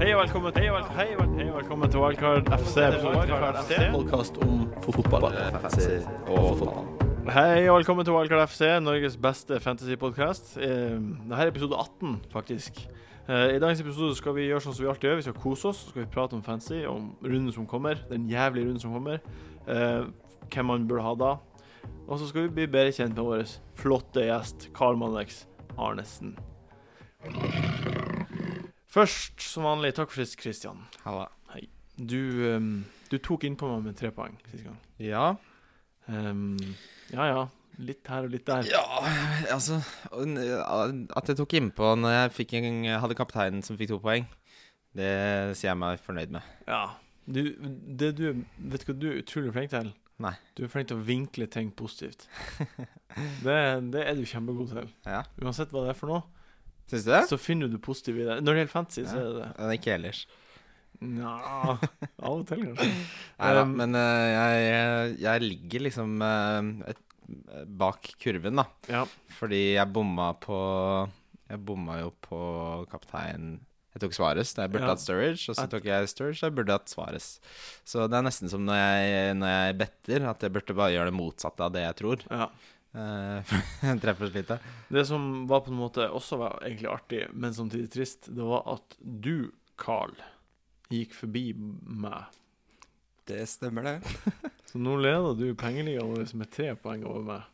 Hei og velkommen til Wildcard Hei og vel- hei og velkommen til Wildcard FC. Wildcard FC. podkast om fotball. Eh, og fotball. Hei og velkommen til Wildcard FC, Norges beste fantasypodkast. Dette er episode 18, faktisk. Eh, I dagens episode skal vi gjøre sånn som vi alltid gjør. Vi skal kose oss, så skal vi prate om fantasy, om runden som kommer. Den jævlige runden som kommer. Eh, Hvem man burde ha da. Og så skal vi bli bedre kjent med vår flotte gjest Karl Mannix Arnesen. Først, som vanlig, takk for sist, Christian. Halla. Du, eh, du tok innpå meg med tre poeng sist gang. Ja. Ehm, ja ja. Litt her og litt der. ja, altså n- At jeg tok innpå når jeg fikk en, hadde kapteinen som fikk to poeng, det sier jeg meg fornøyd med. Ja. Du, det du, vet du hva du er utrolig flink til? Nei. Du er flink til å vinkle ting positivt. Det, det er du kjempegod til. Ja. Uansett hva det er for noe, Syns du det? så finner du det positive i det. Når det gjelder fantasy, så er det det. Eh, Ikke ellers. Nja Av og til, kanskje. Nei da, Um, men eh, jeg, jeg, jeg ligger liksom eh, et, bak kurven, da. Ja. Fordi jeg bomma på Jeg bomma jo på kaptein Jeg tok Svares da jeg burde Ja. hatt Sturridge, og så At- tok jeg Sturridge da jeg burde hatt Svares. Så det er nesten som når jeg, når jeg better, at jeg burde bare gjøre det motsatte av det jeg tror. ja. Eh, for jeg treffer så lite. Det som var på en måte også var egentlig artig, men samtidig trist, det var at du, Carl, gikk forbi meg. Det stemmer, det. Så nå leder du pengeligaen vår med tre poeng over meg.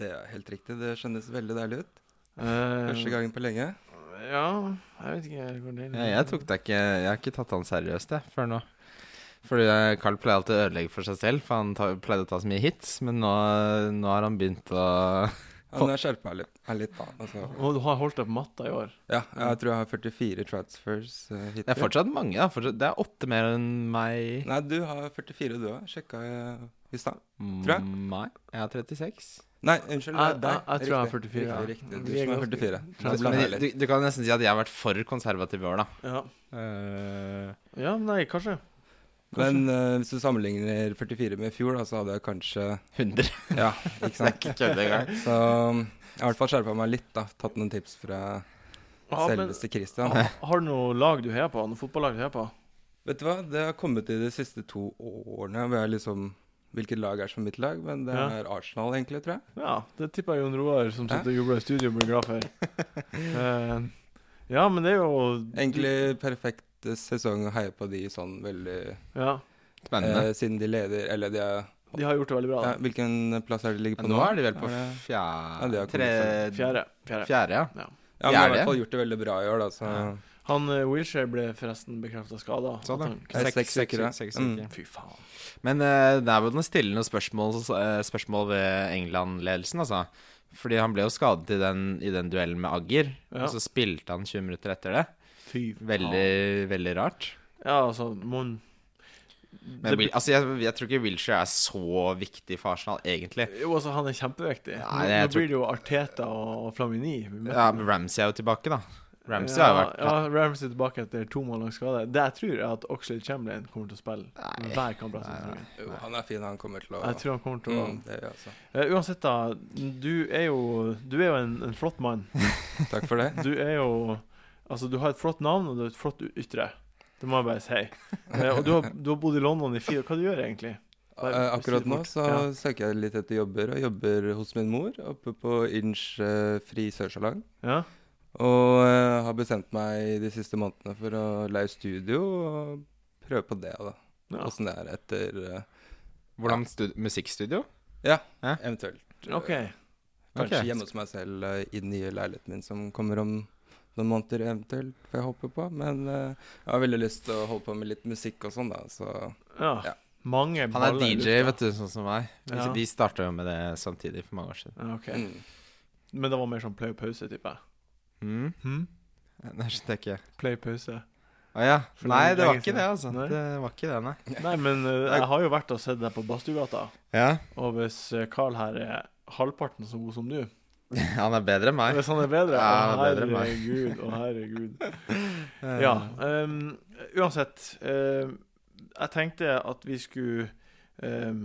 Det er helt riktig. Det kjennes veldig deilig ut. Eh, Første gangen på lenge. Ja, jeg vet ikke hvor det er. Jeg, jeg tok det ikke Jeg har ikke tatt han seriøst, jeg, før nå. Fordi eh, Carl pleier alltid å ødelegge for seg selv, for han ta, pleide å ta så mye hits. Men nå, nå har han begynt å Han har skjerpa meg litt- meg litt, da. Altså, Og du har holdt deg på matta i år. ja, jeg tror jeg har 44 transfers eh, Det er hittil. fortsatt mange. Da. Fortsatt, det er åtte mer enn meg. Nei, du har 44, du òg. Sjekka jeg i stad. Tror jeg. Mm, Nei, jeg har 36. Nei, unnskyld. Jeg- det er deg. jeg- jeg tror jeg har Riktig. 44, ja. Riktig, riktig. Vi er Du som har ganske- 44. Trans- Det er Men deilig. du, du kan nesten si at jeg har vært for konservativ i år, da. Ja, Eh, ja nei, kanskje. Men eh, hvis du sammenligner 44 med i fjor, da, så hadde jeg kanskje 100. Ja, Det ikke er sant. ikke kødd engang. Så um, jeg har i hvert fall skjerpa meg litt, da. Tatt noen tips fra Ja, men, selveste Christian. har du noe lag du heier på? Noe fotballag du heier på? Vet du hva, det har kommet i de siste to årene hvor jeg liksom Hvilket lag er som mitt lag? Men det Ja. er Arsenal, egentlig, tror jeg. Ja, det tipper jeg Jon Roar, som sitter og jubler i studio, blir glad for. Eh, ja, men det er jo Egentlig perfekt eh, sesong å heie på de sånn veldig Ja, Spennende. eh, Siden de leder Eller de er de har gjort det veldig bra. ja, Da. Hvilken plass er det de ligger Men på nå nå? er de vel på Er det- Ja, de fjerde har kommet tre, Fjerde. fjerde. Fjerde, ja. Ja, men de har i fjerde? hvert fall gjort det veldig bra i år, da, så Ja. Han eh, Wilshere ble forresten bekrefta skada. Sånn, ja. Det er seks uker, da. seks Mm. uker. Fy faen. Men eh, det er vel noen stille noen spørsmål, eh, spørsmål ved England-ledelsen, altså. Fordi han ble jo skadet i den, i den duellen med Agger, Ja. og så spilte han 20 minutter etter det. Fy faen. Veldig, veldig rart. Ja, altså, mon... Men Det Wil- altså, jeg, jeg tror ikke Wilshere er så viktig for Arsenal, egentlig. Jo, altså, han er kjempeviktig. Nei, Nå, nå jeg tror- blir det jo Arteta og Flamini. Ja, men Ramsey er jo tilbake, da. Ramsey har jo vært Ja, Ramsey tilbake etter to måneder lang skade. Det jeg tror, er at Oxlade Chamberlain kommer til å spille Nei. hver kamp. resten av Nei, nei. sesongen. Jo, han er fin, han kommer til å Jeg tror han kommer til å Mm, det gjør jeg også. Eh, Uansett, da. Du er jo, du er jo en, en flott mann. Takk for det. Du er jo Altså, du har et flott navn, og du har et flott ytre. Det må jeg bare si. Eh, Og du har, du har bodd i London i fire Hva du gjør du egentlig? Bare Eh, si det akkurat nå fort. så Ja. søker jeg litt etter jobber, og jobber hos min mor oppe på Inch eh, fri sørsalong. Ja? Og eh, har bestemt meg de siste månedene for å leie studio og prøve på det, da. ja. Åssen det er etter eh, Hvordan stud musikkstudio? eventuelt OK. Kanskje Ok. hjemme hos meg selv eh, i den nye leiligheten min som kommer om noen måneder, eventuelt, får jeg håpe på. Men eh, jeg har veldig lyst til å holde på med litt musikk og sånn, da, så Ja. Ja. Mange Han er DJ, vet du, sånn som meg. Ja. De starta jo med det samtidig for mange år siden. Ja, ok. mm. Men det var mer sånn play og pause, tipper jeg. Mm. Hm? Nei, skjønte jeg ikke. Play og pause. Å ja. For Nei, det er det var lenge ikke det, altså. Nei. Det var ikke det, nei. Nei, men eh, jeg har jo vært og sett deg på Badstuegata, Ja. og hvis eh, Carl her er halvparten så god som du Han er bedre enn meg. Hvis han er bedre, Ja, å han er bedre enn meg. herregud, å herregud. Ja, ehm, uansett. ehm, jeg tenkte at vi skulle ehm,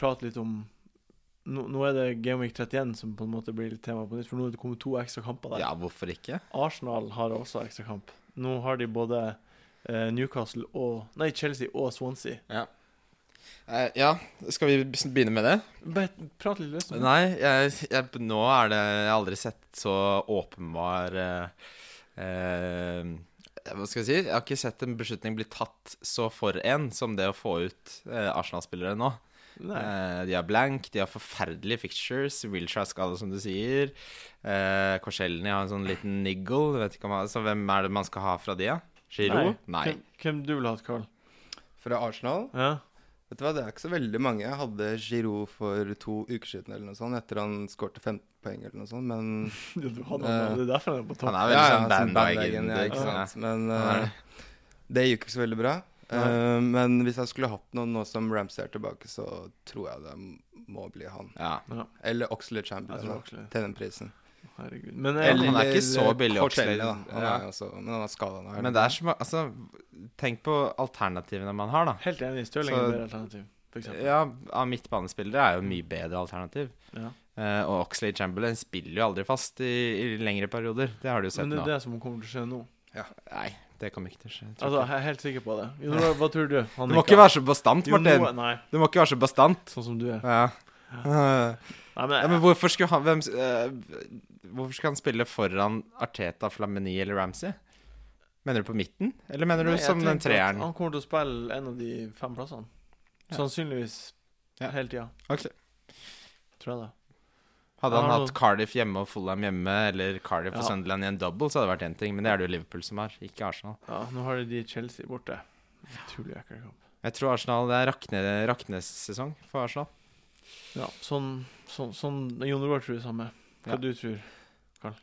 prate litt om nå, nå er det Game Week 31 som på en måte blir litt tema på nytt, for nå er det kommet to ekstra kamper der. Ja, hvorfor ikke? Arsenal har også ekstrakamp. Nå har de både eh, Newcastle og Nei, Chelsea og Swansea. Eh, ja, skal vi begynne med det? Bare prat litt løst om det. Nei, jeg, jeg, nå er det Jeg har aldri sett så åpenbar eh, eh, Hva skal jeg si? Jeg har ikke sett en beslutning bli tatt så for en som det å få ut eh, Arsenal-spillere nå. Nei. Eh, de har blank, de har forferdelige fictures. Wilshere skada, som du sier. Eh, Korselny har en sånn liten niggle. Vet ikke om han, så hvem er det man skal ha fra de, da? Giroud? Nei. Hvem, hvem du vil ha, Carl? Fra Arsenal? Ja. Vet du hva, Det er ikke så veldig mange. Jeg hadde Giroud for to uker siden eller noe sånt, etter han skårte 15 poeng eller noe sånt, men Du, du hadde han, det er derfor han er på topp. Eh, Han er veldig sånn sånn bandwagon. ja, ikke Ja. sant. Men Ja. eh, det gikk ikke så veldig bra. Eh, men hvis jeg skulle hatt noen nå som Ramsay er tilbake, så tror jeg det må bli han. Ja. Eller Oxley Jeg tror Chamberlain da, Oxley. til den prisen. Herregud. Men eh, Eller- han er ikke så billig, Cortelli, Oxley. da. Han Ja. er også, men han er skada nå. er Men det det er så ma- Altså, tenk på alternativene man har, da. helt enig, Stirling er Så- et bedre alternativ, for eksempel. Ja, av midtbanespillere er jo mye bedre alternativ. Ja. Eh, og Oxlade Chamberlain spiller jo aldri fast i, i lengre perioder. Det har du jo sett Men det nå. er det som kommer til å skje nå. Nei, det kommer ikke til å skje. jeg tror Altså, ikke. jeg er helt sikker på det. Jo, hva, hva tror du? Han Du må ikke være så bastant, Jo, Martin. nå- Nei, Du må ikke være så bastant. sånn som du er. Ja. Nei, ja, men hvorfor skulle han hvem, s- eh, Hvorfor skulle han spille foran Arteta, Flamini eller Ramsey? Mener du på midten, eller mener du Nei, jeg som tenker den at treeren? Han kommer til å spille en av de fem plassene. Ja. Sannsynligvis Ja. hele tida, Ok. tror jeg det. Hadde han han har hatt noe- Cardiff hjemme og Fulham hjemme, eller Cardiff og Ja. Sunderland i en double, så hadde det vært én ting, men det er det jo Liverpool som har, ikke Arsenal. Ja, nå har de de Chelsea borte. Utrolig ekkel kamp. Jeg tror Arsenal det er rakne, raknesesong for Arsenal. Ja, sånn, sånn, sånn Jon Roar tror det samme. Hva Ja. du tror ikke.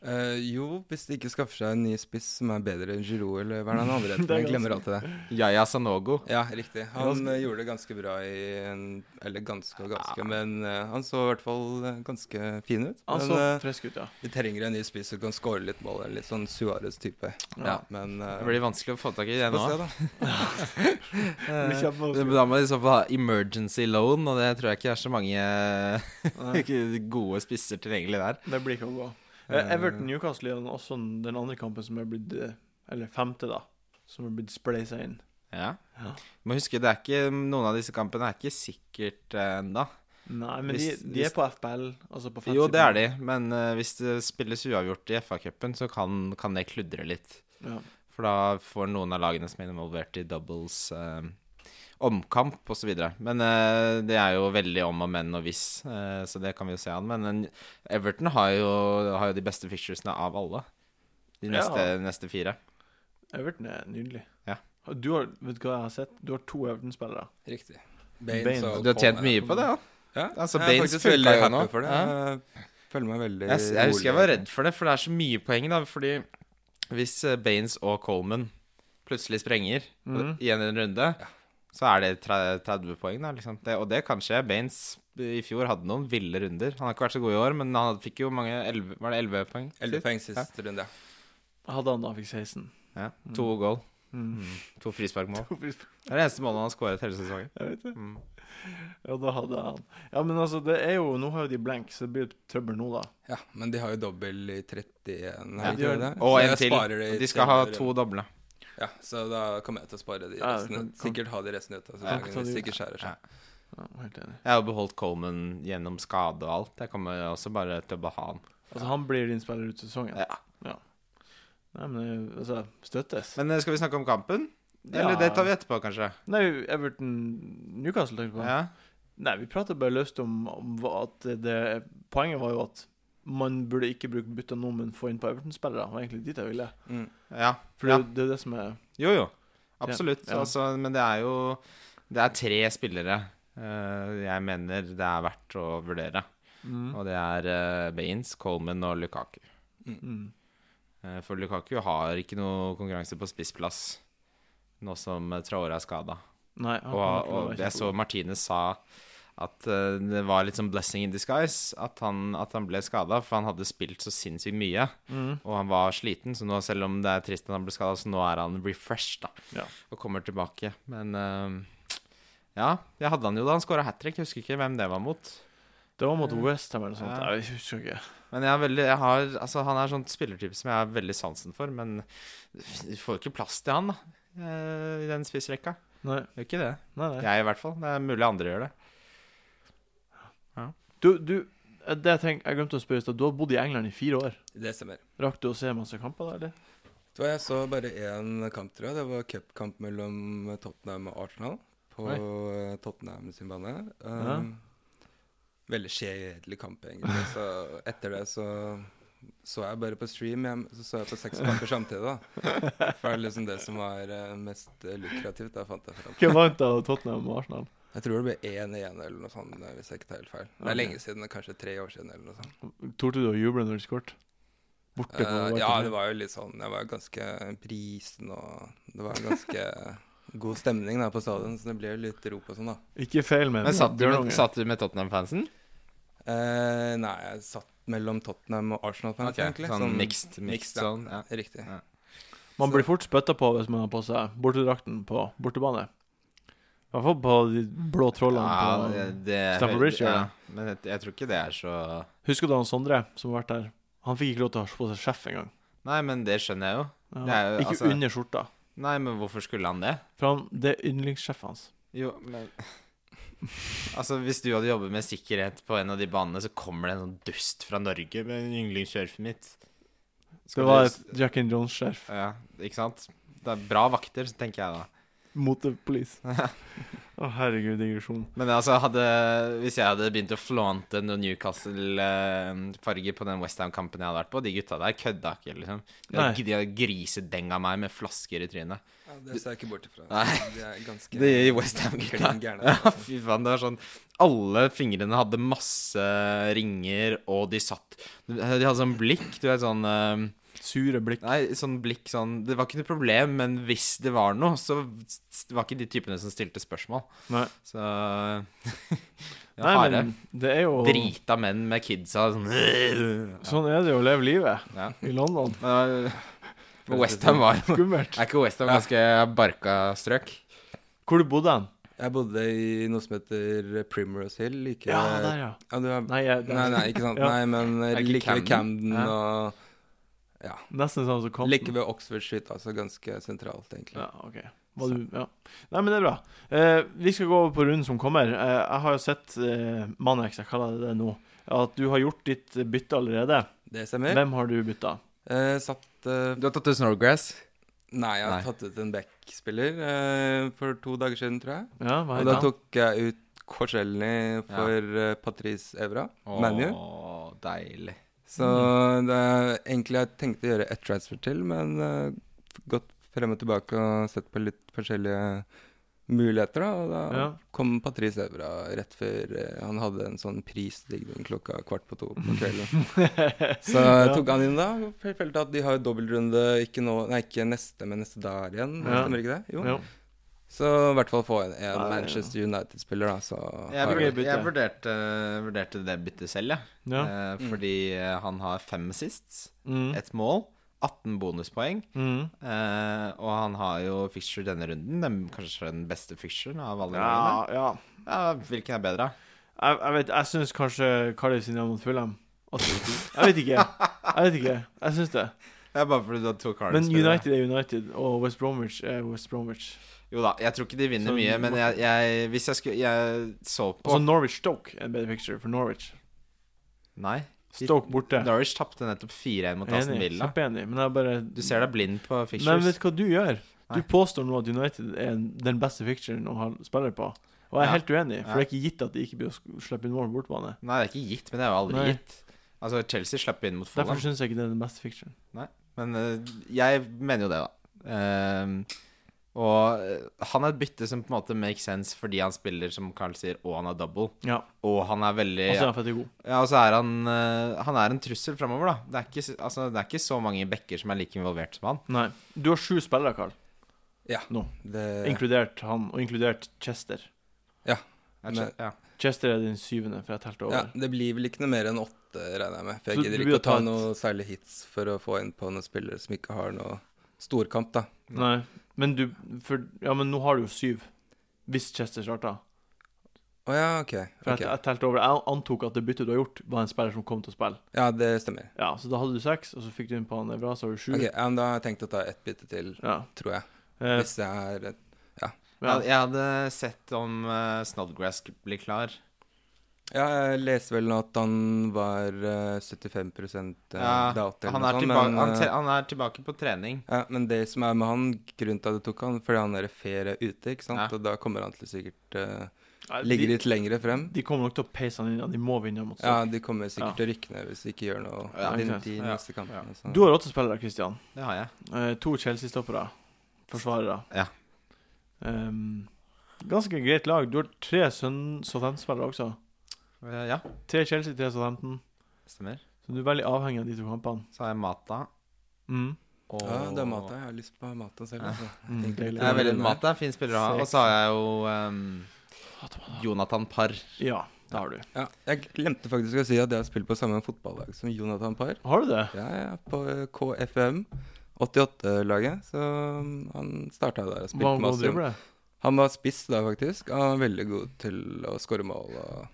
Eh, jo, hvis de ikke skaffer seg en ny spiss som er bedre enn Giroud eller hva er det han andre Det heter. er Jeg glemmer alltid det. Yaya Sanogo. Ja, riktig. Han Ganske- eh, gjorde det ganske bra i en Eller ganske og ganske, Ja. men eh, han så i hvert fall eh, ganske fin ut. Han men så eh, frisk ut, ja. vi trenger en ny spiss som kan score litt mål. En litt sånn Suárez-type. Ja. Men Det eh, blir vanskelig å få tak i det Få nå. se, da. blir kjempevanskelig. Eh, Da må de i så fall ha emergency loan, og det tror jeg ikke er så mange Nei, gode spisser tilgjengelig der. det blir ikke å gå. Eh, Everton Newcastle er den- også den andre kampen som er blitt eh, Eller femte, da. Som er blitt spleisa inn. Ja. Ja. Må huske, det er ikke, noen av disse kampene er ikke sikkert eh, ennå. Nei, men Hvis- de, de er hvis- på FBL. Altså på Jo, det er de, men eh, hvis det spilles uavgjort i FA-cupen, så kan, kan det kludre litt. Ja. For da får noen av lagene som er involvert i doubles eh, omkamp osv. Men eh, det er jo veldig om og men og hvis, eh, så det kan vi jo se an. Men en- Everton har jo, har jo de beste fixturesene av alle. De Ja. neste, neste fire. Everton er eh, nydelig. Ja. Du har, vet du hva jeg har sett? Du har to Everton-spillere. Riktig. Bane. så Du har tjent Coleman. mye på det, ja. Ja, Altså, jeg er Baines faktisk funka veldig jo happy nå. for det. Ja. Jeg føler meg veldig Jeg, jeg husker jeg var rolig. redd for det, for det er så mye poeng, da. Fordi hvis eh, Baines og Coleman plutselig sprenger Mhm. i en runde, så er det tre- 30 poeng, da. Liksom. Det, og det kan skje. Baines i fjor hadde noen ville runder. Han har ikke vært så god i år, men han hadde- fikk jo mange 11, Var det 11 poeng? Elleve sist? poeng sist runde. ja. Hadde han da fikk 16. Ja. To goal. Mm. To frisparkmål. Jeg Mhm. Det er det eneste målet han har skåret hele sesongen. vet det. Mm. Ja, da hadde han. Ja, men altså, det er jo Nå har jo de blank, så det blir trøbbel nå, da. Ja, men de har jo dobbel i 31, Ja, har de de ikke har- det? Og Så en jeg til. sparer det i De skal ha tre to doble. Ja, så da kommer jeg til å spare de Ja, resten. kan- kan- Sikkert ha de resten ut av Ja, sesongen ta de hvis ut. det ikke skjærer seg. Ja, helt enig. Jeg har jo beholdt Coleman gjennom skade og alt. Jeg kommer også bare til å beha han. Altså, han blir din spiller ut sesongen. Ja. Nei, men det- altså Støttes. Men eh, skal vi snakke om kampen? Ja. Eller det tar vi etterpå, kanskje? Nei, Everton Newcastle tenkte jeg på. Ja. Nei, vi pratet bare løst om, om hva- at det Poenget var jo at man burde ikke bruke bytta nå, men få inn på Everton-spillere. Det var egentlig dit jeg ville. Mm. ja. For Ja. det, det er det som er Jo, jo. Absolutt. Ja. Altså, men det er jo Det er tre spillere eh, jeg mener det er verdt å vurdere. Og det er eh, Baines, Coleman og Lukaku. Mm. Eh, for Lukaku har ikke noe konkurranse på spissplass nå som eh, Traore er skada. Nei, han Og, kommer til å være og jeg så kjempegod. Martinez sa at eh, det var litt sånn blessing in disguise at han, at han ble skada, for han hadde spilt så sinnssykt mye. Mm. Og han var sliten, så nå, selv om det er trist at han ble skada, så nå er han refreshed da, Ja. og kommer tilbake. Men eh, ja, jeg hadde han jo da han skåra hat trick. Husker ikke hvem det var mot. Det var mot Westham eller noe sånt. Ja. Jeg husker ikke. Men jeg er veldig, jeg har, altså, han er sånn spillertype som jeg har veldig sansen for, men du får jo ikke plass til han, da. eh, i den spissrekka. Nei, Det er ikke det. nei, nei. Jeg i hvert fall. Det er mulig andre gjør det. Du, du eh, det jeg, tenker, jeg glemte å spørre i stad. Du har bodd i England i fire år. Det stemmer. Rakk du å se masse kamper der, eller? Så jeg så bare én kamp, tror jeg. Det var cupkamp mellom Tottenham og Arsenal på Oi. eh, Tottenham sin bane. Um, Veldig kjedelig kamp, egentlig. Så etter det så så jeg bare på stream, jeg, så så jeg på seks kamper samtidig, da. For det er liksom det som var eh, mest eh, lukrativt, da fant jeg fram. Hvem vant av Tottenham og Arsenal? Jeg tror det ble 1-1 eller noe sånt, eh, hvis jeg ikke tar helt feil. Det Ok. er lenge siden, kanskje tre år siden eller noe sånt. Torde du å juble når du skåret? Borte på Eh, White ja, Hart det Lane. var jo litt sånn Jeg var ganske brisen, og det var ganske god stemning da på stadion, så det ble jo litt rop og sånn, da. Ikke feil, men, Men satt du med, Bjørnunge. satt du med Tottenham-fansen? Eh, nei, jeg satt mellom Tottenham og Arsenal, fans, Ok, egentlig. Sånn mixed, liksom. mixed, mixed ja. sånn. Ja. Riktig. Ja. Man blir fort spytta på hvis man har på seg bortedrakten på bortebane. I hvert fall på de blå trollene. Ja, på... det- Stamford Bridge, ja. gjør Men jeg, jeg tror ikke det er så Husker du han Sondre som har vært der? Han fikk ikke lov til å ha på seg sjef engang. Nei, men det skjønner jeg jo. Ja. Det er jo- Ikke altså- under skjorta. Nei, men hvorfor skulle han det? For han, det er yndlingssjefet hans. Jo, men Altså, hvis du hadde jobbet med sikkerhet på en av de banene, så kommer det en sånn dust fra Norge med yndlingskjørfet mitt. Det var et Jack and Jones-skjerf. Ja, ikke sant? Det er bra vakter, så tenker jeg da. Mot the police. Å, herregud, digresjon. Men altså, hadde, hvis jeg hadde begynt å flånte noen Newcastle-farger på den Westham-kampen jeg hadde vært på, de gutta der kødda ikke, liksom. De Nei. hadde, de hadde grisedenga meg med flasker i trynet. Ja, det ser jeg ikke bort ifra. Nei. Det er ganske De West Ham-gutta. klin gærne. Ja, fy faen, det var sånn Alle fingrene hadde masse ringer, og de satt De hadde sånn blikk, du vet sånn eh, Sure blikk. Nei, sånn blikk sånn Det var ikke noe problem, men hvis det var noe, så var ikke de typene som stilte spørsmål. Nei, Så ja, Nei harde. men det er jo Drita menn med kidsa sånn ja. Sånn er det jo å leve livet ja. i London. Men, Men Westham var jo Skummelt. Er ikke Westham ganske barka strøk? Hvor du bodde hen? Jeg bodde i noe som heter Primrose Hill. Like, Ja, der, ja. Ja, du er, nei, Nei, jeg, det er nei, ikke sant. Ja. Nei, men Er det ikke like ved Camden? Camden Ja. og nesten sånn som Compton. Like ved Oxford Street, altså ganske sentralt, egentlig. Ja, ok. Hva du, ja. Nei, men det er bra. Eh, vi skal gå over på runden som kommer. Eh, jeg har jo sett eh, Manex, jeg kaller det det nå, at du har gjort ditt bytte allerede. Det stemmer. Hvem har du bytta? Eh, satt eh, Du har tatt ut Snowgrass. Nei, jeg Nei. har tatt ut en backspiller eh, for to dager siden, tror jeg. Ja, hva Og heter da han? tok jeg ut Korselny for eh, Patrice Evra, ManU. deilig. Så det er egentlig jeg tenkte å gjøre ett transfer til, men eh, gått frem og tilbake og sett på litt forskjellige muligheter, da. Og da Ja. kom Patrice Evra rett før eh, han hadde en sånn prisstigning klokka kvart på to på kvelden. Så jeg tok han inn da. og felt- Følte at de har jo dobbeltrunde ikke nå, nei, ikke neste, men neste der igjen. Ja. Stemmer ikke det? Jo. Jo. Så i hvert fall få en, en Nei, Manchester United-spiller, da. Så Jeg, har burde- vi- bytte. vurder- jeg vurderte, vurderte det byttet selv, jeg. Ja. Eh, Fordi eh, han har fem assists, Mm. ett mål, 18 bonuspoeng. Mm. Eh, og han har jo fixture denne runden. Den, kanskje den beste fixturen av alle ja, rundene. ja. Ja, hvilken er bedre? Jeg, jeg vet, jeg syns kanskje Cardiff sin mot Fulham at, Jeg vet ikke. Jeg vet ikke. Jeg syns det. Det er bare fordi du har to Men Cardinals-spillere. United er United, og West Bromwich er West Bromwich. Jo da, jeg tror ikke de vinner Så- mye, men jeg, jeg, hvis jeg skulle Jeg så på Altså Norwich Stoke er en bedre picture for Norwich. Nei. Stoke borte. Norwich tapte nettopp 4-1 mot Aston Enig. Villa. Kjempeenig. Men jeg bare Du ser deg blind på Nei, men fixtures. vet du hva du gjør? Du Nei. påstår nå at United er den beste ficturen å ha spillere på. Og jeg er Ja. helt uenig, for Ja. det er ikke gitt at de ikke blir å sk- slippe inn mål på bortebane. Nei, det er ikke gitt, men det er jo aldri Nei. gitt. Altså, Chelsea slapp inn mot Fulham, Derfor syns jeg ikke det er den beste ficturen. men eh, jeg mener jo det, da. Ehm, og eh, han er et bytte som på en måte makes sense fordi han spiller, som Carl sier, og han har double. Ja. Og han er veldig Og så er han fett god. Ja, og så er han eh, Han er en trussel framover, da. Det er, ikke, altså, det er ikke så mange backer som er like involvert som han. Nei. Du har sju spillere, Carl. Ja. Nå. det, Inkludert han, og inkludert Chester. Jeg Men- skjø- ja. Chester er din syvende, for jeg telte Ja, over. det blir vel ikke noe mer enn åtte, regner jeg med. For Så jeg du gidder vil ikke å ta ta et- noe særlig hits for å få inn på noen spillere som ikke har noe storkamp, da. Nei. Men du For Ja, men nå har du jo syv. Hvis Chester starta. Å ja, ok. For ok. jeg, jeg telte over. Jeg antok at det byttet du har gjort, var en spiller som kom til å spille. Ja, det stemmer. Ja, Så da hadde du seks, og så fikk du inn på han Evra, så har du sju. Ok, ja, men Da har jeg tenkt å ta ett bytte til, Ja. tror jeg. Eh, Hvis det er et ja. Jeg, jeg hadde sett om eh, Snodgrass blir klar. Ja, jeg leste vel at han var eh, 75 eh, Ja, doubt eller han, noe er sånt, tilbake, men, han, eh, tre- han er tilbake på trening. ja, men det som er med han, grunnen til at det tok han, fordi han er i ferie ute, ikke sant? Ja. Og da kommer han til sikkert eh, Nei, de, ligge litt lengre frem. de kommer nok til å peise han inn, og de må vinne mot Ja, Stoke. de kommer Ja. sikkert til å rykke ned hvis de ikke gjør noe Ja, i ikke sant. de Ja. neste kampene. så- Du har åtte spillere, Christian. Det har jeg. Eh, to Chelsea-stoppere. Forsvarere. Ja. Ehm, ganske greit lag. Du har tre Sun- Southampton-spillere også. Eh, Ja, Tre Chelsea, tre Southampton. stemmer. Så du er veldig avhengig av de to kampene. Så har jeg Mata. Mm. Og Ja, det er Mata. Jeg har lyst på Mata selv. Ja. Altså. Mm, Egentlig deilig. Jeg er veldig Mata, fin spiller å ha. Og så har jeg jo ehm, Jonathan Parr. Ja, det har du. Ja, jeg glemte faktisk å si at jeg har spilt på samme fotballag som Jonathan Parr. Har du det? Ja, jeg er på eh, KFM, 88-laget. Så mm, han starta der og Hva må spilte du masse. drible? Han var spiss da, faktisk. Han var veldig god til å skåre mål og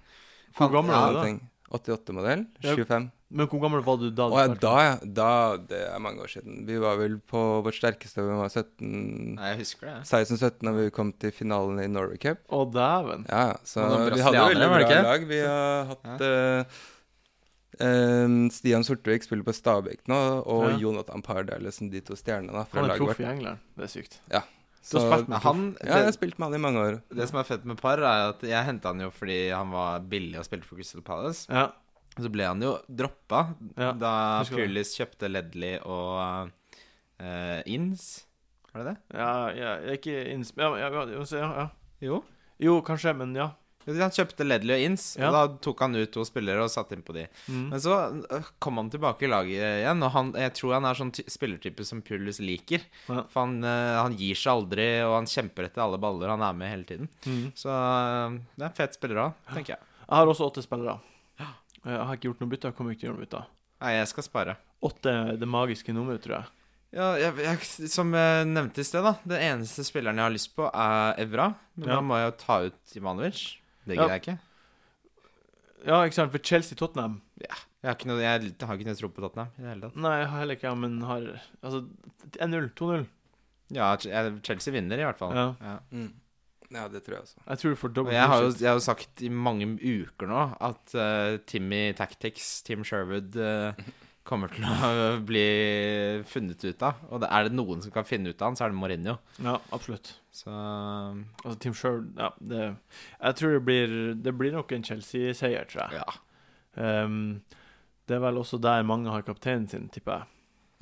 Hvor gammel ja, er du da? ting. 88-modell. Ja. 25. Men hvor gammel var du da? Å du ja, spilte? da, ja. Da, det er mange år siden. Vi var vel på vårt sterkeste da vi var 17 Nei, jeg husker det. 16-17 da vi kom til finalen i Norway Cup. Å, dæven. Ja, ja. Så Og noen vi hadde brasilianere, veldig var det bra ikke? lag. Vi har hatt eh, eh, Stian Sortevik spiller på Stabæk nå, og Ja. Jonathan Parr. Det er liksom de to stjernene da, fra Han er laget proff vårt. i England. Det er sykt. Så, spilt Men han, ja, jeg har det, spilt med han i mange år. det som er fett med Parr, er at jeg henta han jo fordi han var billig og spilte for Crystal Palace. Ja. Så ble han jo droppa Ja, da husker det. Pulis kjøpte Ledley og eh, Inns. Var det det? Ja, ja, jeg er ikke innsp... Ja, ja, ja, ja, ja. Jo. Jo, kanskje, men ja. Han kjøpte Ledley og Inns, Ja. og da tok han ut to spillere og satte inn på de. Mm. Men så øh, kom han tilbake i laget igjen, og han, jeg tror han er sånn ty spillertype som Pulis liker. Ja. For han, øh, han gir seg aldri, og han kjemper etter alle baller han er med hele tiden. Mm. Så øh, det er en fet spiller òg, tenker jeg. Jeg har også åtte spillere. Eh, Jeg har ikke gjort noe bytte. Jeg kommer ikke til å gjøre noe bytte. Nei, jeg skal spare. Åtte er det magiske nummeret, tror jeg. Ja, jeg, jeg, som jeg nevnte i sted, da. Den eneste spilleren jeg har lyst på, er Evra. Men Ja. da må jeg jo ta ut Ivanovic. Det Ja. gidder jeg ikke. Ja, ikke sant? For Chelsea-Tottenham Jeg har ikke noe, jeg, har ikke noe tro på Tottenham i det hele tatt. Nei, jeg har heller ikke, ja, men har Altså 1-0, 2-0. Ja, Ch- jeg- Chelsea vinner, i hvert fall. Ja. Ja. Mm. Ja, det tror jeg også. Jeg tror du får Og dobbelt Jeg har, jo, digit. jeg har jo sagt i mange uker nå at eh, Timmy Tactics, Tim Sherwood, eh, kommer til å bli funnet ut av. Og det, er det noen som kan finne ut av han, så er det Mourinho. Ja, absolutt. Så ehm, Altså Team Sherwood Ja, det Jeg tror det blir Det blir nok en Chelsea-seier, tror jeg. ja. Ehm, det er vel også der mange har kapteinen sin, tipper jeg.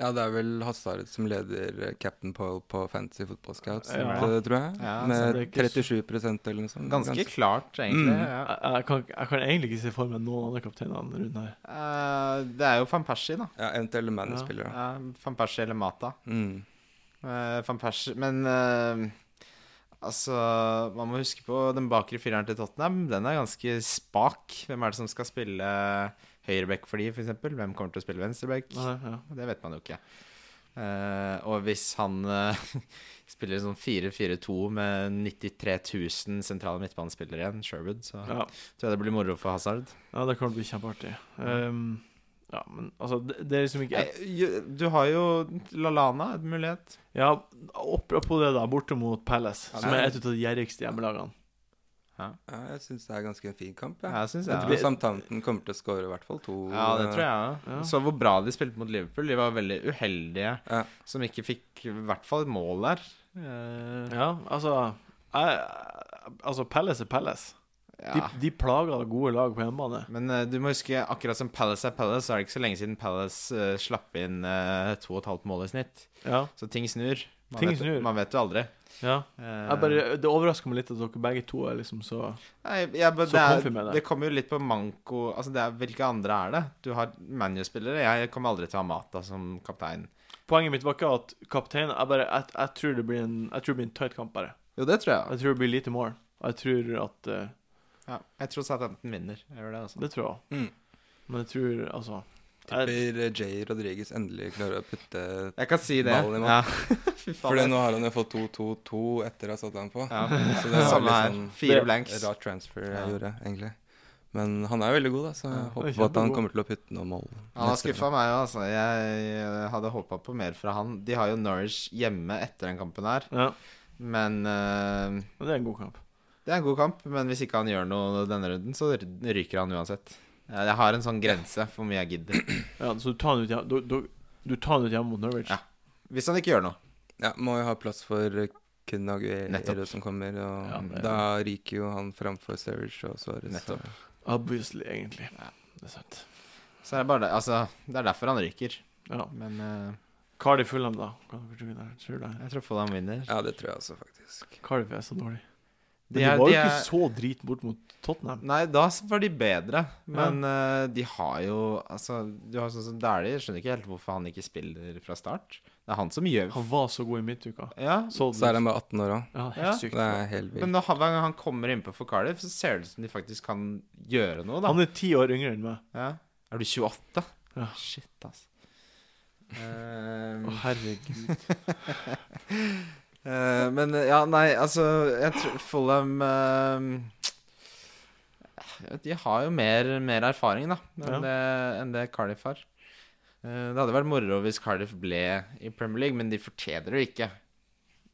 Ja, det er vel Hazard som leder eh, Captain Paul på Fantasy Football Scouts, Ja. eh, tror jeg. Ja, så med det er ikke så- 37 eller noe sånt. Ganske klart, egentlig. Mm. Ja. Jeg, jeg, kan, jeg kan egentlig ikke se for meg noen andre kapteiner rundt her. Eh, det er jo Van Persie, da. Ja, eventuelle Manny-spillere. da. Uh, Van Persie eller Mata. Mm. Eh, Van Persie Men eh, altså Man må huske på den bakre fireren til Tottenham. Den er ganske spak. Hvem er det som skal spille høyreback for de, f.eks.? Hvem kommer til å spille venstreback? Nei, ja. Det vet man jo ikke. Eh, og hvis han eh, spiller sånn 4-4-2 med 93 000 sentrale midtbanespillere igjen, Sherwood, så Ja. tror jeg det blir moro for Hazard. ja, det kommer til å bli kjempeartig. Ehm, ja, men altså det, det er liksom ikke Nei, ju- du har jo Lalana, en mulighet. Ja, apropos det, da. Borte mot Palace, Ja, som det er er- et av de gjerrigste hjemmelagene. Ja, jeg syns det er ganske en fin kamp. Ja. Ja, synes Jeg jeg. tror Southampton kommer til å skåre i hvert fall to. Ja, det tror jeg Ja. ja. Så hvor bra de spilte mot Liverpool. De var veldig uheldige, Ja. som ikke fikk i hvert fall et mål der. Eh, Ja, altså jeg, Altså, Palace er Palace. De, ja. de plager gode lag på hjemmebane. Men eh, du må huske, akkurat som Palace er Palace, så er det ikke så lenge siden Palace eh, slapp inn eh, to og et halvt mål i snitt. Ja, Så ting snur. Man, Ting vet, snur. man vet jo aldri. ja. Eh, Jeg bare, det overrasker meg litt at dere begge to er liksom så Nei, jeg bare- Så det, comfy med er, det. det kommer jo litt på manko Altså, det er, hvilke andre er det? Du har ManU-spillere. Jeg kommer aldri til å ha Mata som kaptein. Poenget mitt var ikke at kaptein Jeg bare Jeg, jeg tror det blir en Jeg tror det blir en tight kamp, bare. Jo, det tror jeg. Jeg tror det blir lite mål. Jeg tror at eh, Ja, jeg tror Southampton vinner. Jeg gjør det, altså. Det tror jeg. Mm. Men jeg tror altså jeg, Tipper eh, Jay Rodriguez endelig klarer å putte Jeg kan si det. Ballen i mål. Ja. Fy For faen. nå har han jo fått 2-2-2 etter å ha satt han på. Ja. Så det Det var samme litt her. sånn Fire det- blanks. rart transfer jeg Ja. gjorde, egentlig. Men han er jo veldig god, da, så jeg Ja, håper kjempegod. at han kommer til å putte noen mål. Han har neste skuffa meg òg, altså. Jeg, jeg hadde håpa på mer fra han. De har jo Norwich hjemme etter den kampen her, Ja, men eh, men det er en god kamp. Det er en god kamp, men hvis ikke han gjør noe denne runden, så ryker han uansett. Eh, Jeg har en sånn grense for hvor mye jeg gidder. Ja, så du tar han ut hjem, du, du, du tar han ut hjemme mot Norwich. Ja. Hvis han ikke gjør noe. Ja, må jo ha plass for Kunaguero Nettopp. som kommer, og Ja, det- da ryker jo han framfor Sturridge og Suarez. Nettopp. så- Obviously, egentlig. Det er sant. Så er det bare det. Altså, det er derfor han ryker. Ja. Men eh, Cardiff Fulham, da. Hva tror dere der? Tror dere? jeg tror Fulham vinner. Ja, det tror jeg også, faktisk. Cardiff er så dårlig. Men De de, er- var jo de ikke er- så drit bort mot Tottenham. Nei, da var de bedre, men eh, de har jo Altså, du har sånn som Dæhlie. Skjønner ikke helt hvorfor han ikke spiller fra start. Det er han som gjør Han var så god i midtuka. Ja, Så, Så er han bare 18 år òg. ja, helt Ja. sykt. Det er helt men vilt. når han, hver gang han kommer innpå for Cardiff, så ser det ut som de faktisk kan gjøre noe, da. Han er ti år yngre enn meg. Ja. Er du 28? Ja. Shit, altså. Å, Ehm, herregud. eh, men ja, nei, altså Jeg tror Fulham ehm, eh, De har jo mer, mer erfaring, da, enn, Ja. det, enn det Cardiff har. Eh, det hadde vært moro hvis Cardiff ble i Premier League, men de fortjener det jo ikke.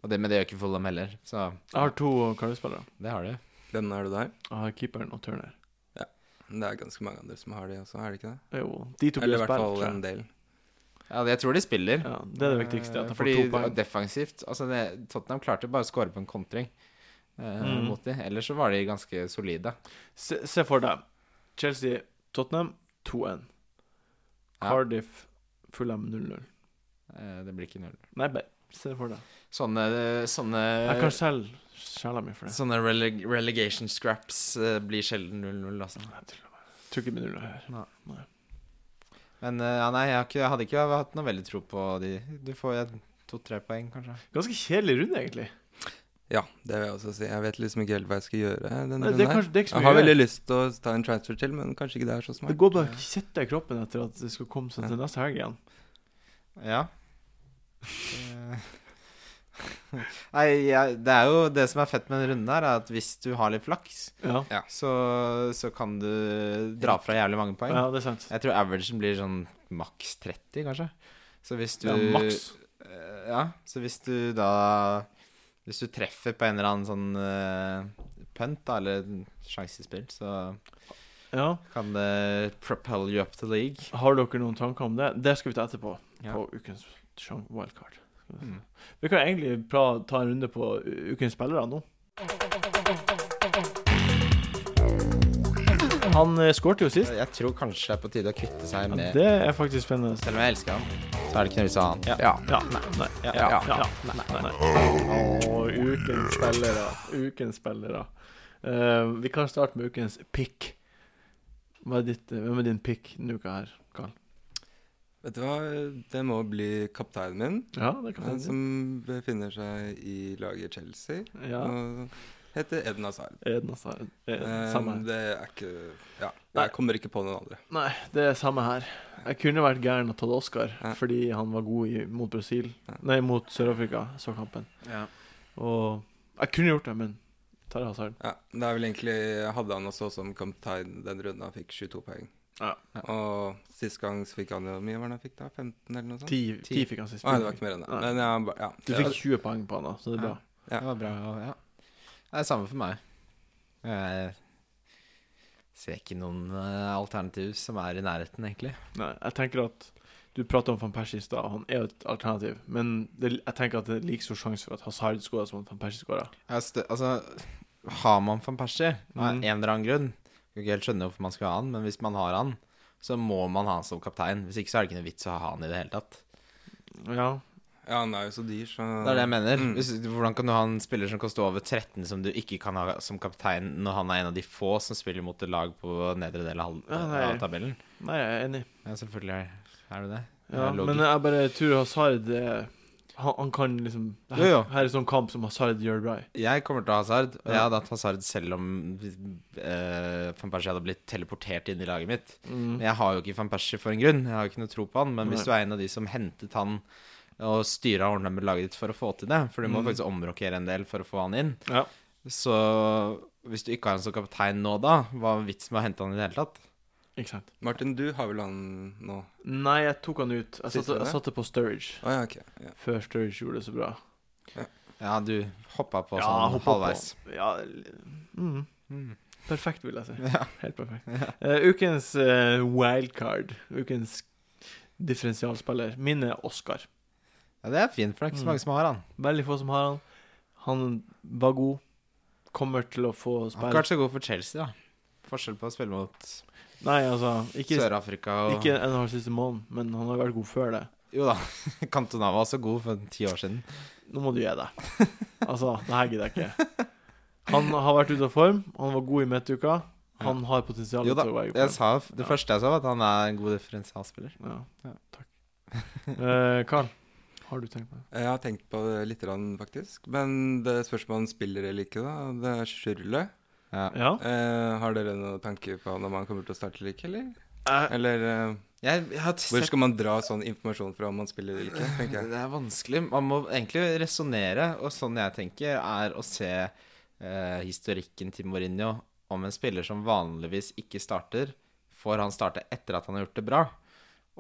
Og det, men det gjør ikke Fulham heller, så Jeg har to Cardiff-spillere. det har de. Den har du der. Jeg har keeperen og Turner. Det er ganske mange andre som har de også, er det ikke det? Det er jo de to blir Eller i hvert spilt, fall tror en jeg. del. Ja, jeg tror de spiller. Ja, det er det viktigste. At Eh, jeg får Fordi to poeng. defensivt altså det, Tottenham klarte bare å skåre på en kontring eh, Mm. mot de. Ellers så var de ganske solide. Se, se for deg Chelsea-Tottenham 2-1. Ja. Cardiff Fulham 0-0. Eh, det blir ikke null. Nei, bare se for deg. Sånne, sånne, Jeg kan selge sjela mi for det. sånne releg relegation scraps eh, blir sjelden 0-0, altså. Tror ikke det blir null her. Men eh, ja, nei, jeg, har ikke, jeg hadde ikke hatt noe veldig tro på de. Du får eh, to-tre poeng, kanskje. Ganske kjedelig runde, egentlig. Ja, det vil jeg også si. Jeg vet liksom ikke helt hva jeg skal gjøre. denne Nei, det, er runden her. kanskje, det er ikke så Jeg mye. har å veldig gjøre. lyst til å ta en transfer til, men kanskje ikke det er så Det smart. går bare å sitte i kroppen etter at det skal komme seg til neste helg igjen. Ja. Eh, Nei, jeg, det er jo det som er fett med denne runden her, er at hvis du har litt flaks, Ja, så, så kan du dra fra jævlig mange poeng. ja det er sant. Jeg tror averagen blir sånn maks 30, kanskje. Så hvis du Ja, maks. Eh, Ja, så hvis du da Hvis du treffer på en eller annen sånn uh, punt, da, eller sjansespill, så Ja. kan det propel you up to league. Har dere noen tanker om det? Det skal vi ta etterpå, Ja. på ukens sjang- wildcard. Mm. Vi kan egentlig pra ta en runde på u- ukens spillere nå. Han eh, skårte jo sist. Jeg tror kanskje det er på tide å kvitte seg Ja, med det er faktisk spennende. Selv om jeg elsker han, så er det ikke noe vits i å ha han. Ja. Ja. Nei. Nei. Ja. Ja. Nei. Nei. Å, ukens spillere. Ukens spillere. Eh, vi kan starte med ukens pick. Hva er ditt, eh, hvem er din pick denne uka her, Karl? Vet du hva, det må bli kapteinen min, Ja, det kan han hende. som befinner seg i laget Chelsea. Ja. Og heter Eden Hazard. Eden og Sara. Eh, Samme her. Eh, Det er ikke Ja, Nei. jeg kommer ikke på noen andre. Nei, det er samme her. Jeg kunne vært gæren og tatt Oscar Ja. fordi han var god i, mot Brasil Ja. Nei, mot Sør-Afrika, så kampen. Ja. Og jeg kunne gjort det, men tar hasarden. Ja, det er vel egentlig Jeg hadde han også som kaptein den runden han fikk 22 poeng. Ja. Og sist gang så fikk han jo hvor mye var det han fikk da? 15 eller noe sånt? Ti ti Ti. fikk han sist. Nei, det var ikke mer enn det. Nei. Men ja, ba- ja. Du fikk 20 poeng på han, da, så det er bra. Ja. Det var bra. Ja. Det er samme for meg. Jeg ser ikke noen eh, alternativ som er i nærheten, egentlig. Nei, jeg tenker at du prater om van Persie i stad, og han er jo et alternativ. Men det, jeg tenker at det er like stor sjanse for at Hazard skårer som at van Persie skårer. Jeg stø altså, har man van Persie av Mhm. en eller annen grunn Kan ikke helt skjønne hvorfor man skal ha han, men hvis man har han, så må man ha han som kaptein. Hvis ikke så er det ikke noe vits å ha han i det hele tatt. Ja. Ja, han er jo så dyr, så Det er det jeg mener. Mm. Hvis, hvordan kan du ha en spiller som koster over 13, som du ikke kan ha som kaptein, når han er en av de få som spiller mot et lag på nedre del av, Ja, halv nei. av tabellen? Nei, jeg er enig. Ja, selvfølgelig er det det. Ja, Det er men jeg bare tror Hazard eh, han, han kan liksom det her, Jo, jo. her er sånn kamp som Hazard gjør bra i. Jeg kommer til å ha Hazard, og Ja. jeg hadde hatt Hazard selv om eh, Van Persie hadde blitt teleportert inn i laget mitt. Men jeg har jo ikke Van Persie for en grunn, jeg har jo ikke noe tro på han. Men Nei. hvis du er en av de som hentet han og styra og ordna med laget ditt for å få til det, for du må Mm. faktisk omrokere en del for å få han inn, Ja. så Hvis du ikke har han som kaptein nå, da, hva er vitsen med å hente han i det hele tatt? Ikke sant? Martin, du har vel han nå? Nei, jeg tok han ut. Jeg Siste satte, jeg det? satte på Sturridge. Å ja, ok. Ja. Før Sturridge gjorde det så bra. Ja, du hoppa på Ja, sånn hoppet på. halvveis. Ja, l- mm. Mm. Perfekt, vil jeg si. Helt perfekt. Eh, ukens eh, wildcard, ukens differensialspiller, min er Oscar. Ja, det er fint, for det Mm. er ikke så mange som har han. Veldig få som har han. Han var god. Kommer til å få spille Han har ikke vært så god for Chelsea, da. Forskjell på å spille mot Nei, altså Ikke, Sør-Afrika og ikke en halv siste måned, men han har vært god før det. Jo da, Cantona var også god for ti år siden. Nå må du gi deg. Altså, det her gidder jeg ikke. Han har vært ute av form. Han var god i midtuka. Han har potensial Jo da, til å være jeg god. sa, det Ja. første jeg sa, var at han er en god differensialspiller. Ja. Ja. Takk. Eh, Carl, har du tenkt på det? Jeg har tenkt på det litt, grann, faktisk. Men det spørs om han spiller eller ikke, da. Det er Sjurle. Ja. Ja? Eh, har dere noen tanker på han om han kommer til å starte eller ikke, eller? Eh, Eller eh, Jeg, jeg har hvor sett skal man dra sånn informasjon fra om han spiller eller ikke, tenker jeg. Det er vanskelig. Man må egentlig resonnere, og sånn jeg tenker, er å se eh, historikken til Mourinho om en spiller som vanligvis ikke starter, får han starte etter at han har gjort det bra.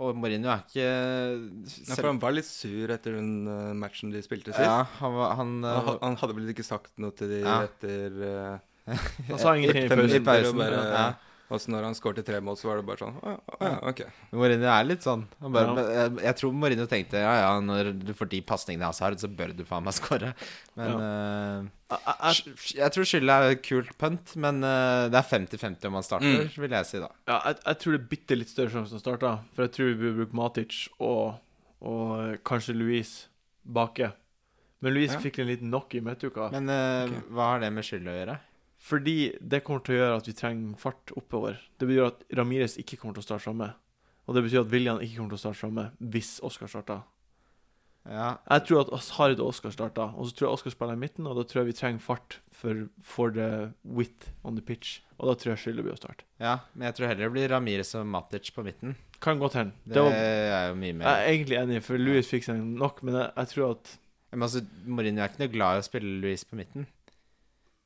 Og Mourinho er ikke Nei, for han var litt sur etter den eh, matchen de spilte sist. ja, han, var- han, eh, Han, ha- han hadde vel ikke sagt noe til de Ja. etter eh, han sa ingenting i fem eh, pausen. i pausen. og bare- ja. Altså når han skårte tre mål, så var det bare sånn Å ja, å ja, ok. Mourinho er litt sånn. Han bare, Ja. men jeg, jeg tror Mourinho tenkte ja, ja, når du får de pasningene av Hazard, så bør du faen meg score. Men eh, jeg, jeg tror skylda er et kult punt, men eh, det er 50-50 om han starter, Mm. vil jeg si da. Ja, jeg, jeg tror det er bitte litt større sjanse å starte. For jeg tror vi burde bruke Matic og, og eh, kanskje Louise bake. Men Louise Ja. fikk en liten knock i midtuka. Men eh, Ok. hva har det med skyld å gjøre? Fordi det kommer til å gjøre at vi trenger fart oppover. Det betyr at Ramires ikke kommer til å starte framme. Og det betyr at William ikke kommer til å starte framme hvis Oscar starter. Ja, Jeg tror at Hazard og Oscar starter, og så tror jeg Oscar spiller i midten. Og da tror jeg vi trenger fart for, for the width on the pitch. Og da tror jeg skylder blir å starte. ja, men jeg tror heller det blir Ramirez og Matic på midten. Kan godt hende. Det, Det var- er jo mye mer Jeg er egentlig enig, for Louis fikk seg nok, men jeg, jeg tror at Men altså, Mourinho er ikke noe glad i å spille Luis på midten.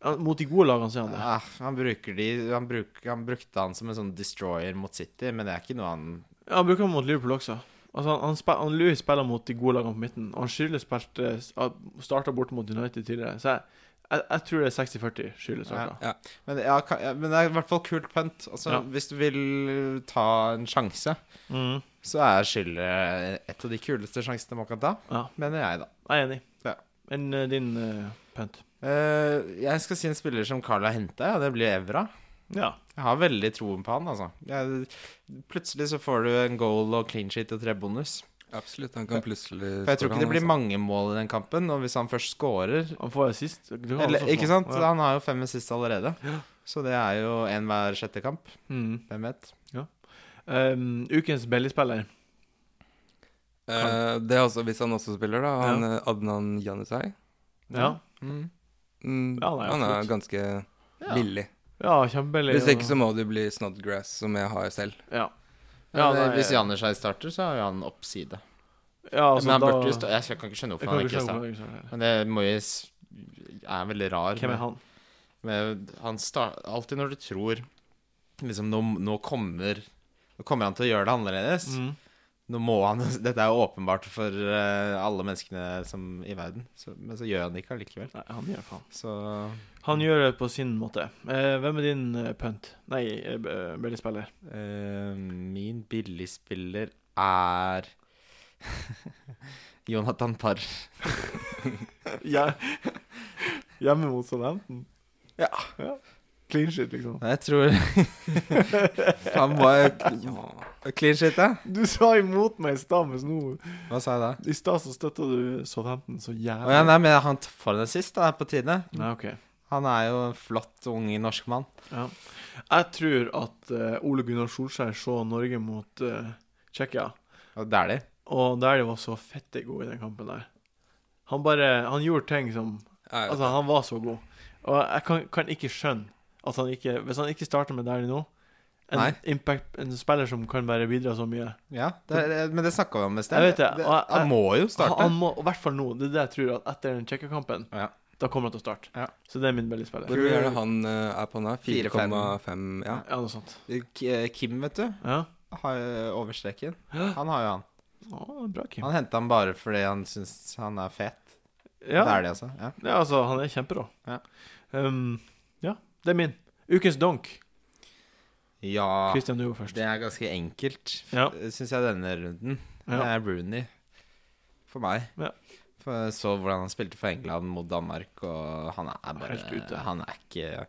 Ja, Mot de gode lagene så er han det. Ja, han, bruker de, han, bruk, han brukte han som en sånn destroyer mot City, men det er ikke noe han Ja, han bruker han mot Liverpool også. Altså, han, han, spil, han Louis spiller mot de gode lagene på midten. Og han eh, Schürrle spilte starta bort mot United tidligere, så jeg, jeg, jeg tror det er 60-40 Schürrle starta. Ja. Men, ja, ka- ja, men det er i hvert fall kult punt. Altså, Ja. Hvis du vil ta en sjanse, Mm. så er Schille et av de kuleste sjansene man kan ta, Ja, mener jeg, da. jeg er enig. Ja. Men eh, din uh, pent. Eh, jeg skal si en spiller som Carl har henta, ja, det blir Evra. Ja. Jeg har veldig troen på han, altså. Jeg, plutselig så får du en goal og clean sheet og tre bonus. Absolutt. Han kan plutselig For jeg tror score, ikke det blir altså. mange mål i den kampen, og hvis han først scorer Han får jo sist. Det kan eller, også Ikke få. sant? Han har jo fem assist allerede. Ja. Så det er jo én hver sjette kamp. Mm. Hvem vet? Um, ukens billigspiller. Eh, Det er altså hvis han også spiller, da. Han eh, Adnan Janusai. Ja. Mm. Mm, Ja, nei, han er absolutt. ganske billig. Ja, kjempebillig. Hvis ikke så må det bli Snodgrass, som jeg har selv. Ja. Ja, Ja, nei, hvis Janusjaj starter, så har jo han oppside. ja altså, men han da- burde jo stå Jeg kan ikke skjønne Jeg kan hvorfor han ikke skjønne ikke starter. hvorfor han ikke starter. Men det Moyes er veldig rar. Hvem er han? Med, han star, alltid når du tror liksom nå, nå kommer Nå kommer han til å gjøre det annerledes. Mm. Nå må han Dette er jo åpenbart for eh, alle menneskene som, i verden, så, men så gjør han det ikke allikevel. Nei, han gjør faen. Så Han gjør det på sin måte. Eh, hvem er din eh, pønt? Nei, eh, b- eh, billigspiller. eh, min billigspiller er Jonathan Parr. Hjemme mot Southampton? Ja. Clean shit, liksom. Jeg tror Faen, må jeg Ja. Clean shit, da? Du sa imot meg i stad, mens nå Hva sa jeg da? I stad så støtta du Southampton så jævlig. Å ja, nei, men han får den sist, da, er på tide. Nei, OK. Han er jo en flott ung norsk mann. Ja. Jeg tror at eh, Ole Gunnar Solskjær så Norge mot eh, Tsjekkia, Og dælig. og der de var så fette gode i den kampen der. Han bare Han gjorde ting som Ja, Altså, han var så god. Og jeg kan, kan ikke skjønne at han ikke Hvis han ikke starter med Dæhlie nå en, Nei. impact, en spiller som kan bare bidra så mye Ja, det, det- men det snakka vi om i sted. Jeg vet det, og eh, jeg- han må jo Han, starte. han må, I hvert fall nå. Det er det jeg tror. at Etter den Tsjekkia-kampen Ja. Da kommer han til å starte. Ja. Så det er min billigspiller. Hvor mye er det han eh, er på nå? 4,5? Ja. Ja, noe sånt. K- Kim, vet du, Ja. har jo overstreken. Han har jo han. Å, bra, Kim. Han henta han bare fordi han syns han er fet. Ja. Det er det, altså. Ja. Ja, altså, han er kjemperå. Ja. Um, ja, det er min. Ukens donk. ja Christian, du går først. det er ganske enkelt, Ja. syns jeg, denne runden. Det Ja. er Rooney for meg. Ja. For jeg så hvordan han spilte for England mot Danmark, og han er bare Helt ute. Han er ikke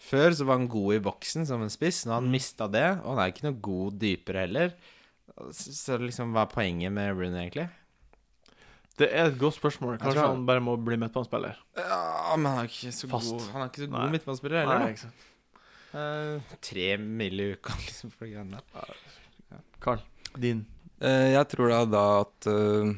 Før så var han god i boksen som en spiss, nå har Mm. han mista det, og han er ikke noe god dypere heller. Så, så liksom, hva er poenget med Rooney, egentlig? Det er et godt spørsmål. tror Kanskje han- han bare må bli midtbanespiller. Ja, men han er ikke så Fast. god Han er ikke så Nei. god midtbanespiller heller. Nei, da. ikke sant. Eh, tre mill. i uka, liksom, for de greiene der. Carl, din. Eh, jeg tror da, da at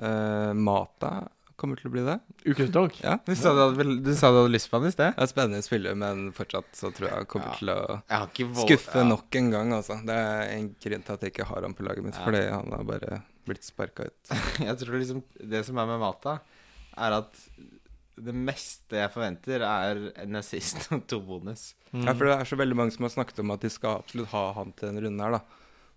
eh, eh, Mata kommer til å bli det. Ukens donk. Ja. Du sa du hadde, vel- du sa du hadde lyst på han i sted? Det er spennende spiller, men fortsatt så tror jeg han kommer Ja. til å Jeg har ikke våg- skuffe ja. nok en gang, altså. Det er en grunn til at jeg ikke har han på laget mitt, Ja. fordi han har bare blitt sparka ut. Jeg tror liksom det som er med Mata, er at det meste jeg forventer, er en assist og to bonus. Ja, for det er så veldig mange som har snakket om at de skal absolutt ha han til denne runden her, da.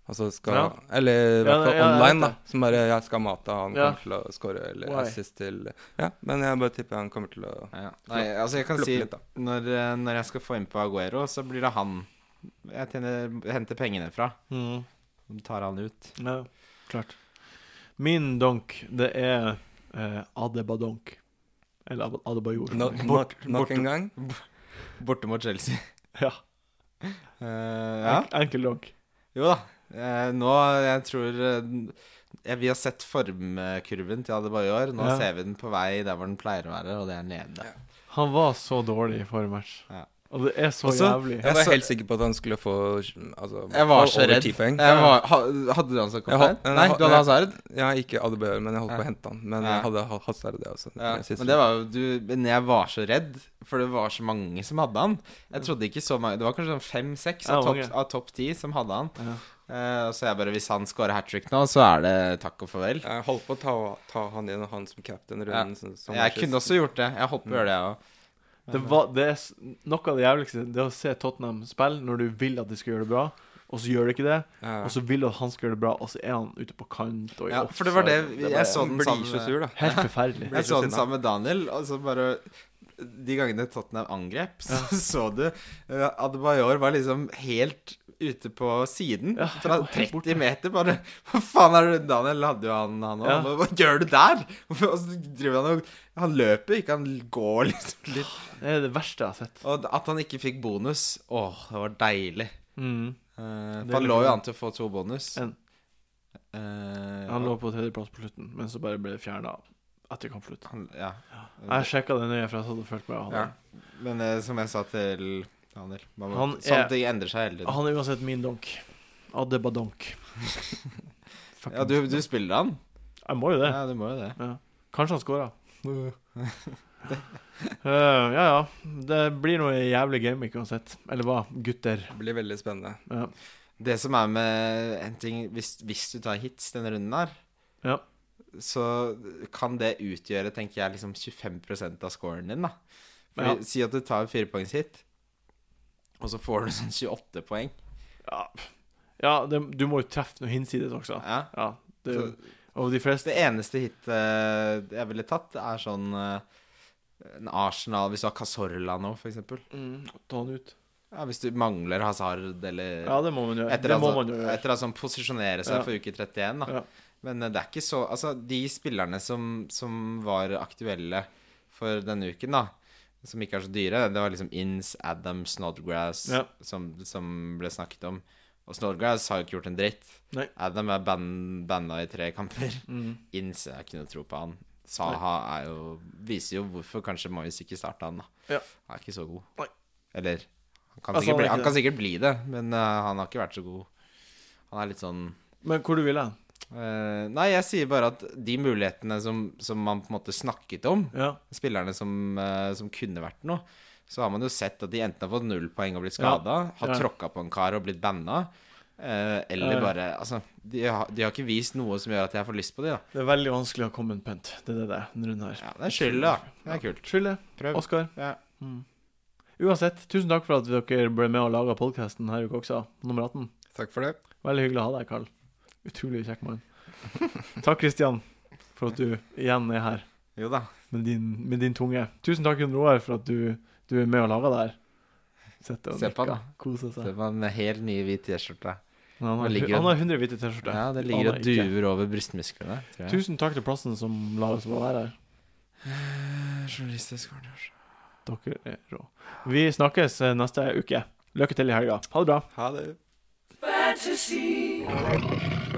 Altså skal Ja. Eller i Ja, hvert fall ja, jeg vet online, det. da. Som bare Jeg skal mate han, Ja. kommer til å score eller Why? assist til Ja, men jeg bare tipper han kommer til å Nei, altså jeg kan Plopp si litt, da. når, eh, når jeg skal få inn på Aguero, så blir det han jeg tjener, henter pengene fra. Mm. Så Tar han ut. Ja, klart. Min donk, det er eh, Adebadonk. Eller Ab- Adebayor. no, nok, nok en gang. Borte mot Chelsea. Ja. Eh, ja. Enk, enkel donk. Jo da. Eh, nå Jeg tror eh, Vi har sett formkurven til Adebayor. Nå Ja. ser vi den på vei der hvor den pleier å være, og det er nede. Han var så dårlig i forrige match. Ja. Og det er så Også- jævlig. Jeg Jeg var så- helt sikker på at han skulle få altså, Jeg var få så over redd. 10 poeng. Jeg var, ha, hadde du han som Jeg had- kaptein? nei, Nei, jeg had- du hadde Hazard? Ja, ikke Adebayor, men jeg holdt på å hente han. Men Ja. jeg hadde ha- Hazard, det også. Ja, Jeg synes- men det var jo du Men jeg var så redd, for det var så mange som hadde han. Jeg trodde ikke så mange Det var kanskje sånn fem-seks Ja, av topp mange. av topp ti som hadde han. Ja. Eh, så jeg bare Hvis han scorer hat trick nå, så er det takk og farvel. Jeg holdt på å ta, ta han inn, og han som captain i Ja. runden. som- som Jeg matches. kunne også gjort det. Jeg håper å gjøre det, jeg òg. Det, var, det er s- noe av det jævligste Det er å se Tottenham spille når du vil at de skal gjøre det bra, og så gjør de ikke det. Ja. Og så vil du at han skal gjøre det bra, og så er han ute på kant og i Ja, offside. for det var det er Jeg så bare- den blir sammen så sur, da. Helt forferdelig. Jeg Blir så så den sinna. sammen med Daniel, og så bare De gangene Tottenham angrep, så så du uh, Adebayor var liksom helt ute på siden. Ja, fra helt 30 borte. meter, bare Hva faen er det Daniel hadde jo han han Ja. òg? Hva gjør du der?! Og så driver han og Han løper ikke, han går liksom litt. Det er det verste jeg har sett. Og at han ikke fikk bonus, åh, det var deilig. Mm. Eh, Det for han er litt- lå jo an til å få to bonus. En. Eh, Han lå på tredjeplass på slutten, men så bare ble det fjerna etter kampslutt. han, ja. Jeg sjekka det nøye, for jeg hadde fulgt med. Ja. Han, Men eh, som jeg sa til Daniel man må- Han er- Sånne ting endrer seg hele tiden. han er uansett min donk. Adebadonk. Fucking- ja, du, du spiller han? Jeg må jo det. Ja, du må jo det. Kanskje han scora. ja ja. Det blir noe jævlig gaming uansett. Eller hva, gutter? Det blir veldig spennende. Ja. Det som er med en ting Hvis, hvis du tar hits denne runden her, Ja. så kan det utgjøre, tenker jeg, liksom 25 av scoren din, da. Fordi, Ja. Si at du tar en firepoengshit, og så får du sånn 28 poeng. Ja, ja det, du må jo treffe noe hinsides også. Ja. Ja, det, er jo- Så, og de fleste Det eneste hitet jeg ville tatt, er sånn eh, en Arsenal Hvis du har Casorla nå, for eksempel. Mm, ta han ut. Ja, hvis du mangler Hazard eller Ja, det må man gjøre. Etter det å må altså, man jo gjøre. etter å sånn posisjonere seg Ja. for uke 31, da. Ja. Men eh, det er ikke så Altså, de spillerne som, som var aktuelle for denne uken, da, som ikke er så dyre, det var liksom Inns, Adams, Snodgrass Ja. som, som ble snakket om. Og Snodgrass har jo ikke gjort en dritt. Nei. Adam er ban banna i tre kamper. Mm. Inns jeg har ikke noe tro på han. Saha er jo, viser jo hvorfor kanskje Moyes ikke starta han, da. Ja. Han er ikke så god. Nei. Eller han kan, Altså, han er sikkert ikke bli, han det. kan sikkert bli det, men eh, han har ikke vært så god. Han er litt sånn Men hvor du ville hen? eh, Nei, jeg sier bare at de mulighetene som, som man på en måte snakket om, Ja. spillerne som, eh, som kunne vært noe, så har man jo sett at de enten har fått null poeng og blitt skada, har Ja. tråkka på en kar og blitt banna, Eh, Ja, ja. eller bare Altså, de har, de har ikke vist noe som gjør at jeg får lyst på de, da. Det er veldig vanskelig å komme en pent. Det er det det er, denne runden her. Ja, det er skyldet, da. Det er kult. Skylde. Prøv. Oskar. Ja. Mm. Uansett, tusen takk for at dere ble med og laga podkasten denne uka også, nummer 18. Takk for det. Veldig hyggelig å ha deg, Karl. Utrolig kjekk mann. Takk, Kristian, for at du igjen er her Jo da. med din, med din tunge. Tusen takk, Jon Roar, for at du, du er med og lager det her. Sitter og Se på nikker, han, da. koser Det seg. var en helt ny hvit T-skjorte. Men Han Hva har, ligger han det? har 100 hvite T-skjorter. Ja, det ligger Aner og ikke. duver over brystmusklene. Tror jeg. Tusen takk til plassen som lar oss få være her. Journalistisk korners. Dere er rå. Vi snakkes eh, neste uke. Lykke til i helga. Ha det bra. Ha det. fantasy.